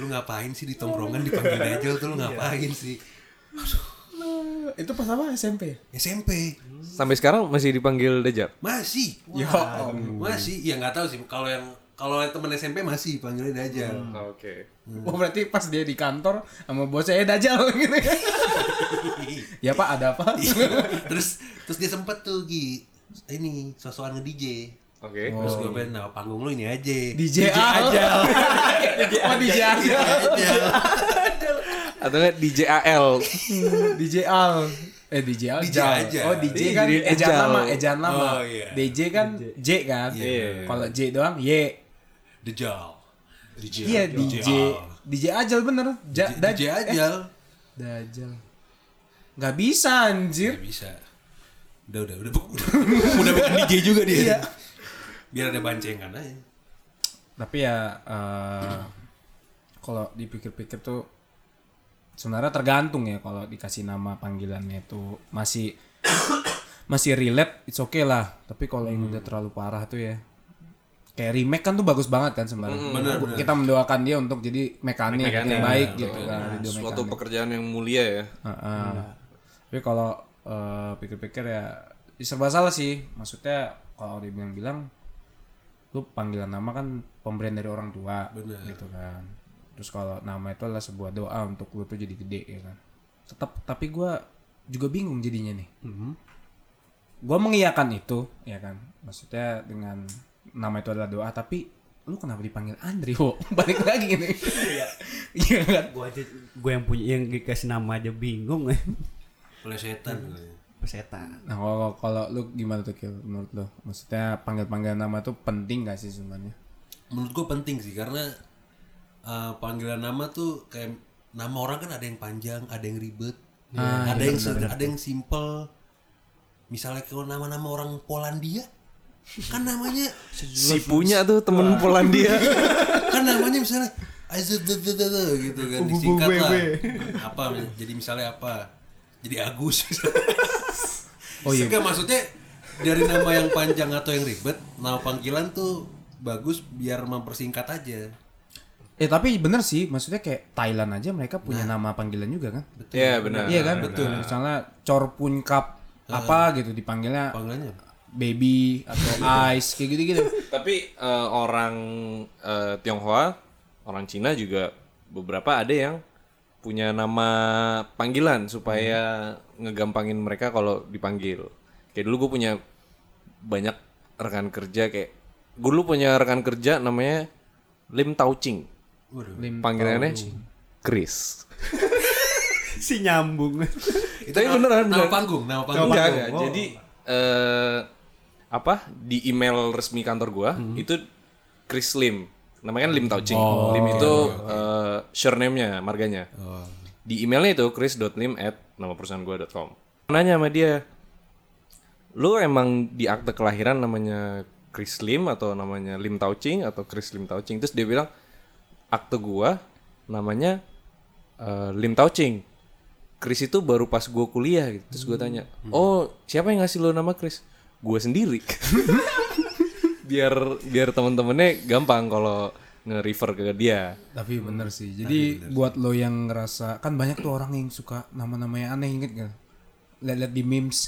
[SPEAKER 3] lu ngapain sih di tongkrongan dipanggil Dajjal tuh lu ngapain sih
[SPEAKER 1] Itu pas apa SMP?
[SPEAKER 3] SMP
[SPEAKER 2] sampai sekarang masih dipanggil Dajjal
[SPEAKER 3] masih
[SPEAKER 1] Ya
[SPEAKER 3] masih ya nggak tahu sih kalau yang kalau yang temen SMP masih panggilnya Dajjal
[SPEAKER 2] oke
[SPEAKER 1] Oh berarti pas dia di kantor sama bosnya eh Dajjal gitu. ya Pak, ada apa?
[SPEAKER 3] terus terus dia sempet tuh Gi ini sosokan nge DJ
[SPEAKER 2] oke
[SPEAKER 3] terus gue pengen nama panggung lu ini aja
[SPEAKER 1] DJ Ajal. Oh DJ Ajal.
[SPEAKER 3] Dajjal
[SPEAKER 2] atau nggak DJAL
[SPEAKER 1] DJ Al eh DJ Al
[SPEAKER 3] DJ
[SPEAKER 1] Jal.
[SPEAKER 3] aja.
[SPEAKER 1] oh DJ
[SPEAKER 2] Iya,
[SPEAKER 1] kan
[SPEAKER 2] jadi
[SPEAKER 1] ejaan
[SPEAKER 2] Ejal.
[SPEAKER 1] lama ejaan lama
[SPEAKER 3] Oh, iya.
[SPEAKER 1] DJ kan J kan
[SPEAKER 2] Iya.
[SPEAKER 1] kalau J doang Y
[SPEAKER 3] Dajjal DJ
[SPEAKER 1] iya DJ DJ Ajal bener ja, da-
[SPEAKER 3] DJ
[SPEAKER 1] eh,
[SPEAKER 3] Ajal
[SPEAKER 1] Dajal nggak bisa anjir
[SPEAKER 3] Gak bisa. Udah udah udah udah, udah bukan DJ juga dia. Biar ada bancengan aja.
[SPEAKER 1] tapi ya eh, kalau dipikir-pikir tuh sebenarnya tergantung ya kalau dikasih nama panggilannya itu masih masih relate it's okay lah tapi kalau yang udah terlalu parah tuh ya kayak remake kan tuh bagus banget kan sebenarnya Aku- kita mendoakan dia untuk jadi mekanik, yang baik gitu kan video
[SPEAKER 2] suatu
[SPEAKER 1] mekanik.
[SPEAKER 2] pekerjaan yang mulia ya
[SPEAKER 1] Heeh. tapi kalau eh, pikir-pikir ya serba salah sih maksudnya kalau dibilang-bilang lu panggilan nama kan pemberian dari orang tua gitu kan terus kalau nama itu adalah sebuah doa untuk lu tuh jadi gede ya kan tetap tapi gua juga bingung jadinya nih. Gua mengiyakan itu, ya kan. Maksudnya dengan nama itu adalah doa, tapi lu kenapa dipanggil Andri? Wo? Balik lagi nih. Iya. kan?
[SPEAKER 4] Gue aja gue yang punya yang dikasih nama aja bingung.
[SPEAKER 3] Plesetan. kali.
[SPEAKER 4] Pesetan.
[SPEAKER 1] Nah, kalau kalau lu gimana tuh Kil, menurut lu? Maksudnya panggil-panggil nama tuh penting gak sih sebenarnya?
[SPEAKER 3] Menurut gue penting sih karena eh, panggilan nama tuh kayak nama orang kan ada yang panjang, ada yang ribet, ada yang seder- ada yang simple. Misalnya kalau nama-nama orang Polandia kan namanya
[SPEAKER 2] Si punya tuh temen Polandia.
[SPEAKER 3] kan namanya misalnya Aizudududud gitu kan disingkat lah. Apa jadi misalnya apa? Jadi Agus. oh iya. maksudnya dari nama yang panjang atau yang ribet, nama panggilan tuh bagus biar mempersingkat aja.
[SPEAKER 1] Eh tapi bener sih, maksudnya kayak Thailand aja mereka punya nama panggilan juga kan?
[SPEAKER 2] Iya benar.
[SPEAKER 1] Iya kan? Nah. Betul. Misalnya Corpun Cup apa gitu dipanggilnya
[SPEAKER 3] Panggilannya apa?
[SPEAKER 1] baby atau ice kayak gitu-gitu.
[SPEAKER 2] Tapi eh, orang eh, Tionghoa, orang Cina juga beberapa ada yang punya nama panggilan supaya ngegampangin mereka kalau dipanggil. Kayak dulu gue punya banyak rekan kerja kayak gue dulu punya rekan kerja namanya Lim Taucing.
[SPEAKER 3] Waduh.
[SPEAKER 2] Panggilannya Chris.
[SPEAKER 4] Si nyambung.
[SPEAKER 3] Itu
[SPEAKER 2] Tapi
[SPEAKER 3] nama,
[SPEAKER 2] beneran,
[SPEAKER 3] nama
[SPEAKER 2] beneran.
[SPEAKER 3] panggung, nama panggung.
[SPEAKER 2] Enggak, enggak. Jadi eh apa di email resmi kantor gua itu Chris Lim. Namanya kan Lim Taucing. Lim itu eh, surname-nya, marganya. Di emailnya itu chris.lim at nama perusahaan gua.com. Nanya sama dia, lu emang di akte kelahiran namanya Chris Lim atau namanya Lim Taucing atau Chris Lim Taucing terus dia bilang akte gua namanya eh, Lim Taucing Chris itu baru pas gua kuliah gitu terus gua tanya
[SPEAKER 3] Hmm.
[SPEAKER 2] oh siapa yang ngasih lu nama Chris gua sendiri biar biar temen-temennya gampang kalau nge-refer ke dia
[SPEAKER 1] tapi bener sih. Jadi buat lo yang ngerasa kan banyak tuh orang yang suka nama-nama yang aneh inget gak? Lihat-lihat di memes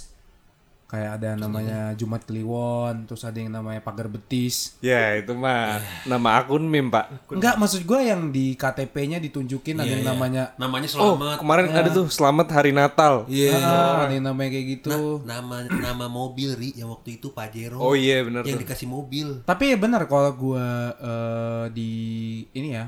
[SPEAKER 1] kayak ada namanya Jumat Kliwon, terus ada yang namanya pagar betis.
[SPEAKER 2] ya itu mah nama akun meme pak
[SPEAKER 1] Enggak, maksud gue yang di KTP-nya ditunjukin
[SPEAKER 3] Iya,
[SPEAKER 1] ada yang namanya
[SPEAKER 3] namanya
[SPEAKER 2] oh
[SPEAKER 3] selamat.
[SPEAKER 2] kemarin ada tuh selamat hari Natal
[SPEAKER 3] Iya. Nah.
[SPEAKER 1] Ah, ada yang namanya kayak gitu.
[SPEAKER 3] Nama nama mobil Ri yang waktu itu Pajero.
[SPEAKER 2] oh iya bener
[SPEAKER 3] yang
[SPEAKER 2] tuh
[SPEAKER 3] dikasih mobil.
[SPEAKER 1] Tapi ya benar kalau gua eh, di ini ya,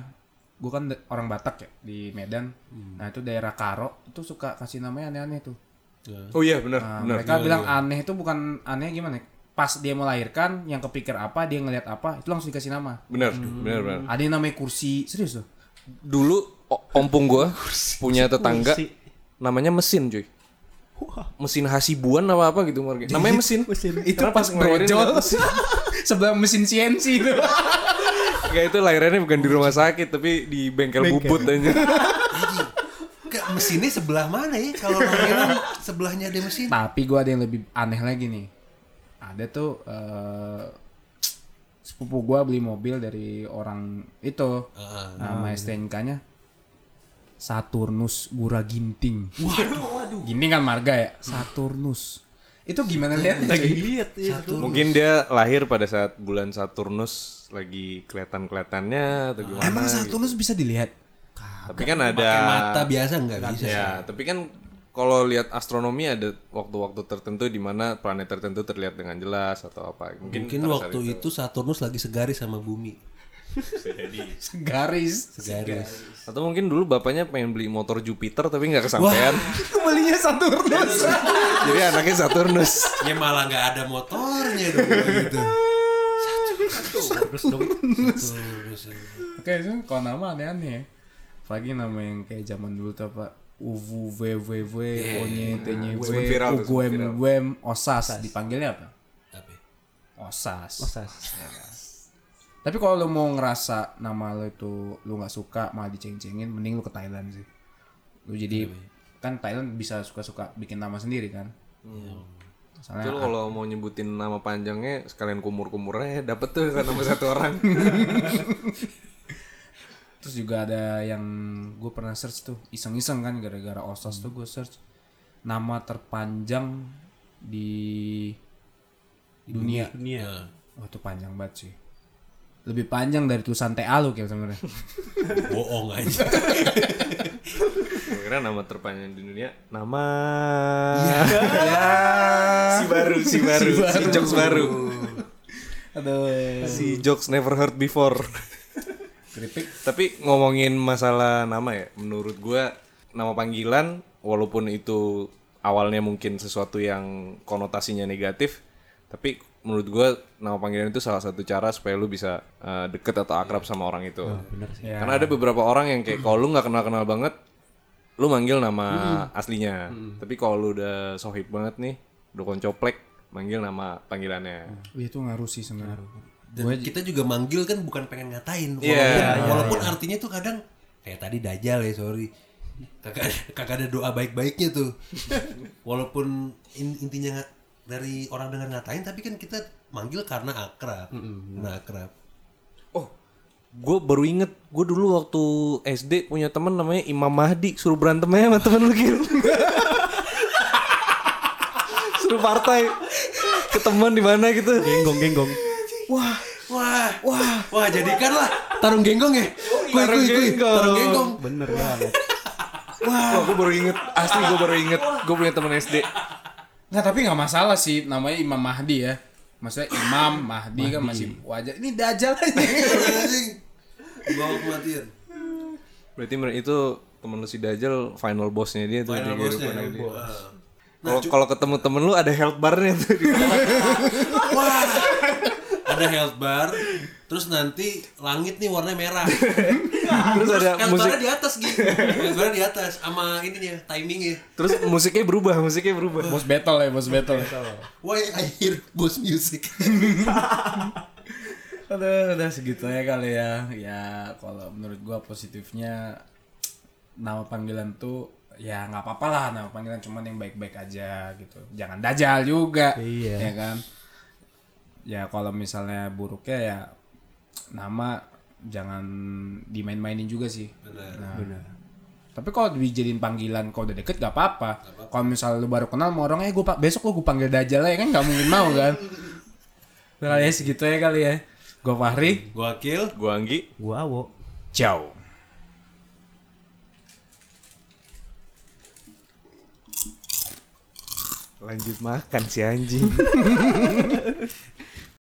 [SPEAKER 1] gua kan da- orang Batak ya di Medan.
[SPEAKER 3] Hmm.
[SPEAKER 1] Nah itu daerah Karo itu suka kasih namanya aneh-aneh tuh.
[SPEAKER 2] oh iya bener
[SPEAKER 1] Nah,
[SPEAKER 3] Ah,
[SPEAKER 2] bener
[SPEAKER 1] mereka bilang
[SPEAKER 3] iya.
[SPEAKER 1] aneh itu bukan aneh gimana? ya? Pas dia melahirkan, yang kepikir apa, dia ngelihat apa, itu langsung dikasih nama.
[SPEAKER 2] bener bener bener
[SPEAKER 1] Ada yang namanya kursi, serius tuh.
[SPEAKER 2] dulu o- ompong gua punya tetangga
[SPEAKER 4] Kursi.
[SPEAKER 2] namanya mesin cuy mesin hasibuan apa apa gitu marga. namanya mesin
[SPEAKER 4] Mesin.
[SPEAKER 1] Itu
[SPEAKER 2] Karena
[SPEAKER 1] pas
[SPEAKER 2] ngelahirin
[SPEAKER 1] brojol.
[SPEAKER 2] liat mesin.
[SPEAKER 1] Sebelum mesin CNC itu.
[SPEAKER 2] ya itu lahirannya bukan di rumah sakit tapi di bengkel, bubut aja
[SPEAKER 3] Jadi ke- mesinnya sebelah mana ya? Kalau lahiran sebelahnya ada mesin.
[SPEAKER 1] Tapi gua ada yang lebih aneh lagi nih. Ada tuh eh, sepupu gua beli mobil dari orang itu.
[SPEAKER 3] Heeh.
[SPEAKER 1] Nama STNK-nya Saturnus Gura Ginting. Waduh, waduh. Ginting kan marga ya? Saturnus. Itu gimana lihat lagi?
[SPEAKER 4] Lihat
[SPEAKER 3] Iya,
[SPEAKER 4] ya.
[SPEAKER 2] mungkin dia lahir pada saat bulan Saturnus lagi kelihatan kelihatannya atau gimana
[SPEAKER 1] Emang
[SPEAKER 2] gitu.
[SPEAKER 1] Saturnus bisa dilihat?
[SPEAKER 2] tapi kan ada
[SPEAKER 3] Pakai mata biasa nggak bisa.
[SPEAKER 2] ya tapi kan kalau lihat astronomi ada waktu-waktu tertentu di mana planet tertentu terlihat dengan jelas atau apa mungkin,
[SPEAKER 3] Mungkin waktu itu Saturnus lagi segaris sama bumi.
[SPEAKER 1] Segaris.
[SPEAKER 3] Segaris.
[SPEAKER 2] atau mungkin dulu bapaknya pengen beli motor Jupiter tapi nggak kesampaian
[SPEAKER 1] Itu belinya Saturnus.
[SPEAKER 2] Jadi anaknya Saturnus.
[SPEAKER 3] Ya malah nggak ada motornya dong kalau gitu.
[SPEAKER 4] Terus dong.
[SPEAKER 3] Terus,
[SPEAKER 1] Oke, itu kalau nama aneh-aneh ya. Apalagi nama yang kayak zaman dulu tuh apa? Uvu VVV, Onye Tenye
[SPEAKER 2] Sempat viral tuh, sempat viral.
[SPEAKER 1] Uguem Osas. Dipanggilnya apa?
[SPEAKER 3] Tapi
[SPEAKER 1] Osas.
[SPEAKER 4] Sas.
[SPEAKER 1] Tapi kalau lu mau ngerasa nama lu itu lu nggak suka malah diceng-cengin, mending lu ke Thailand sih. Lu
[SPEAKER 2] Iya,
[SPEAKER 1] jadi kan Thailand bisa suka-suka bikin nama sendiri kan.
[SPEAKER 2] Itu
[SPEAKER 1] Misalnya
[SPEAKER 2] kalau mau nyebutin nama panjangnya sekalian kumur-kumurnya ya, dapet tuh nama satu orang.
[SPEAKER 1] terus juga ada yang gue pernah search tuh iseng-iseng kan gara-gara osos tuh gue search nama terpanjang di dunia.
[SPEAKER 4] Dunia.
[SPEAKER 1] Wah itu panjang banget sih. Lebih
[SPEAKER 3] Nah,
[SPEAKER 1] panjang dari tulisan TA lu kayak sebenarnya.
[SPEAKER 3] bohong aja.
[SPEAKER 2] kira-kira nama terpanjang di dunia nama si baru si Iya, baru si, jokes baru
[SPEAKER 1] Aduh.
[SPEAKER 2] si jokes never heard before
[SPEAKER 1] Kritik.
[SPEAKER 2] tapi ngomongin masalah nama ya menurut gua nama panggilan walaupun itu awalnya mungkin sesuatu yang konotasinya negatif tapi menurut gua nama panggilan itu salah satu cara supaya lu bisa eh, deket atau akrab sama orang itu
[SPEAKER 1] Ya.
[SPEAKER 2] karena ada beberapa orang yang kayak kalau lu nggak kenal kenal banget, lu manggil nama aslinya. Tapi kalau lu udah sohib banget nih, udah koncoplek, manggil nama panggilannya.
[SPEAKER 1] Wih, itu ngaruh sih sebenarnya.
[SPEAKER 3] Dan kita juga manggil kan bukan pengen ngatain. Walaupun,
[SPEAKER 2] Iya.
[SPEAKER 3] walaupun artinya tuh kadang kayak tadi dajal ya, sorry. Kagak kagak ada doa baik-baiknya tuh. walaupun in- intinya nga- dari orang dengar ngatain tapi kan kita manggil karena akrab. Karena akrab.
[SPEAKER 2] Oh, gue baru inget, gue dulu waktu SD punya temen namanya Imam Mahdi, suruh berantem aja sama temen lu gitu. suruh partai ke temen di mana gitu.
[SPEAKER 4] genggong genggong
[SPEAKER 3] Wah, wah, wah jadikanlah tarung genggong ya. Kui,
[SPEAKER 2] tarung
[SPEAKER 3] kui, kui.
[SPEAKER 2] genggong.
[SPEAKER 3] Tarung genggong.
[SPEAKER 4] bener banget
[SPEAKER 2] Wah, gue baru inget, asli gue baru inget, gue punya temen SD.
[SPEAKER 1] Nggak, tapi nggak masalah sih namanya Imam Mahdi ya. Maksudnya Imam Mahdi, kan masih wajar. Ini dajal aja.
[SPEAKER 3] Anjing. Bawa kematian.
[SPEAKER 2] Berarti mer- itu temen lu si Dajjal final bossnya dia tuh.
[SPEAKER 3] Final Nah,
[SPEAKER 2] di
[SPEAKER 3] bossnya.
[SPEAKER 2] kehidupan dia.
[SPEAKER 3] Wah.
[SPEAKER 2] Kalau kalau ketemu temen lu ada health barnya tuh.
[SPEAKER 3] Wah. Ada health bar, terus nanti langit nih warnanya merah.
[SPEAKER 2] terus ada
[SPEAKER 3] health
[SPEAKER 2] musik
[SPEAKER 3] barnya di atas gitu. Health barnya di atas sama ininya timingnya.
[SPEAKER 2] terus musiknya berubah, musiknya berubah.
[SPEAKER 1] bos battle ya, bos battle.
[SPEAKER 3] Why I hear boss music.
[SPEAKER 1] Aduh, udah segitu aja kali ya. Ya, kalau menurut gua positifnya nama panggilan tuh ya nggak apa-apa lah nama panggilan cuman yang baik-baik aja gitu. Jangan dajal juga.
[SPEAKER 4] Iya.
[SPEAKER 1] Ya kan? Ya kalau misalnya buruknya ya nama jangan dimain-mainin juga sih. Nah, Tapi kalau dijadiin panggilan kalau udah deket gak apa-apa. Kalau misalnya lu baru kenal sama orangnya, gue besok lu gue panggil Dajjal ya kan gak mungkin mau kan. Udah ya segitu ya kali ya. Gue Fahri,
[SPEAKER 3] Gua kill.
[SPEAKER 2] Gua Anggi.
[SPEAKER 4] gua awo
[SPEAKER 1] ciao.
[SPEAKER 2] Lanjut makan si anjing.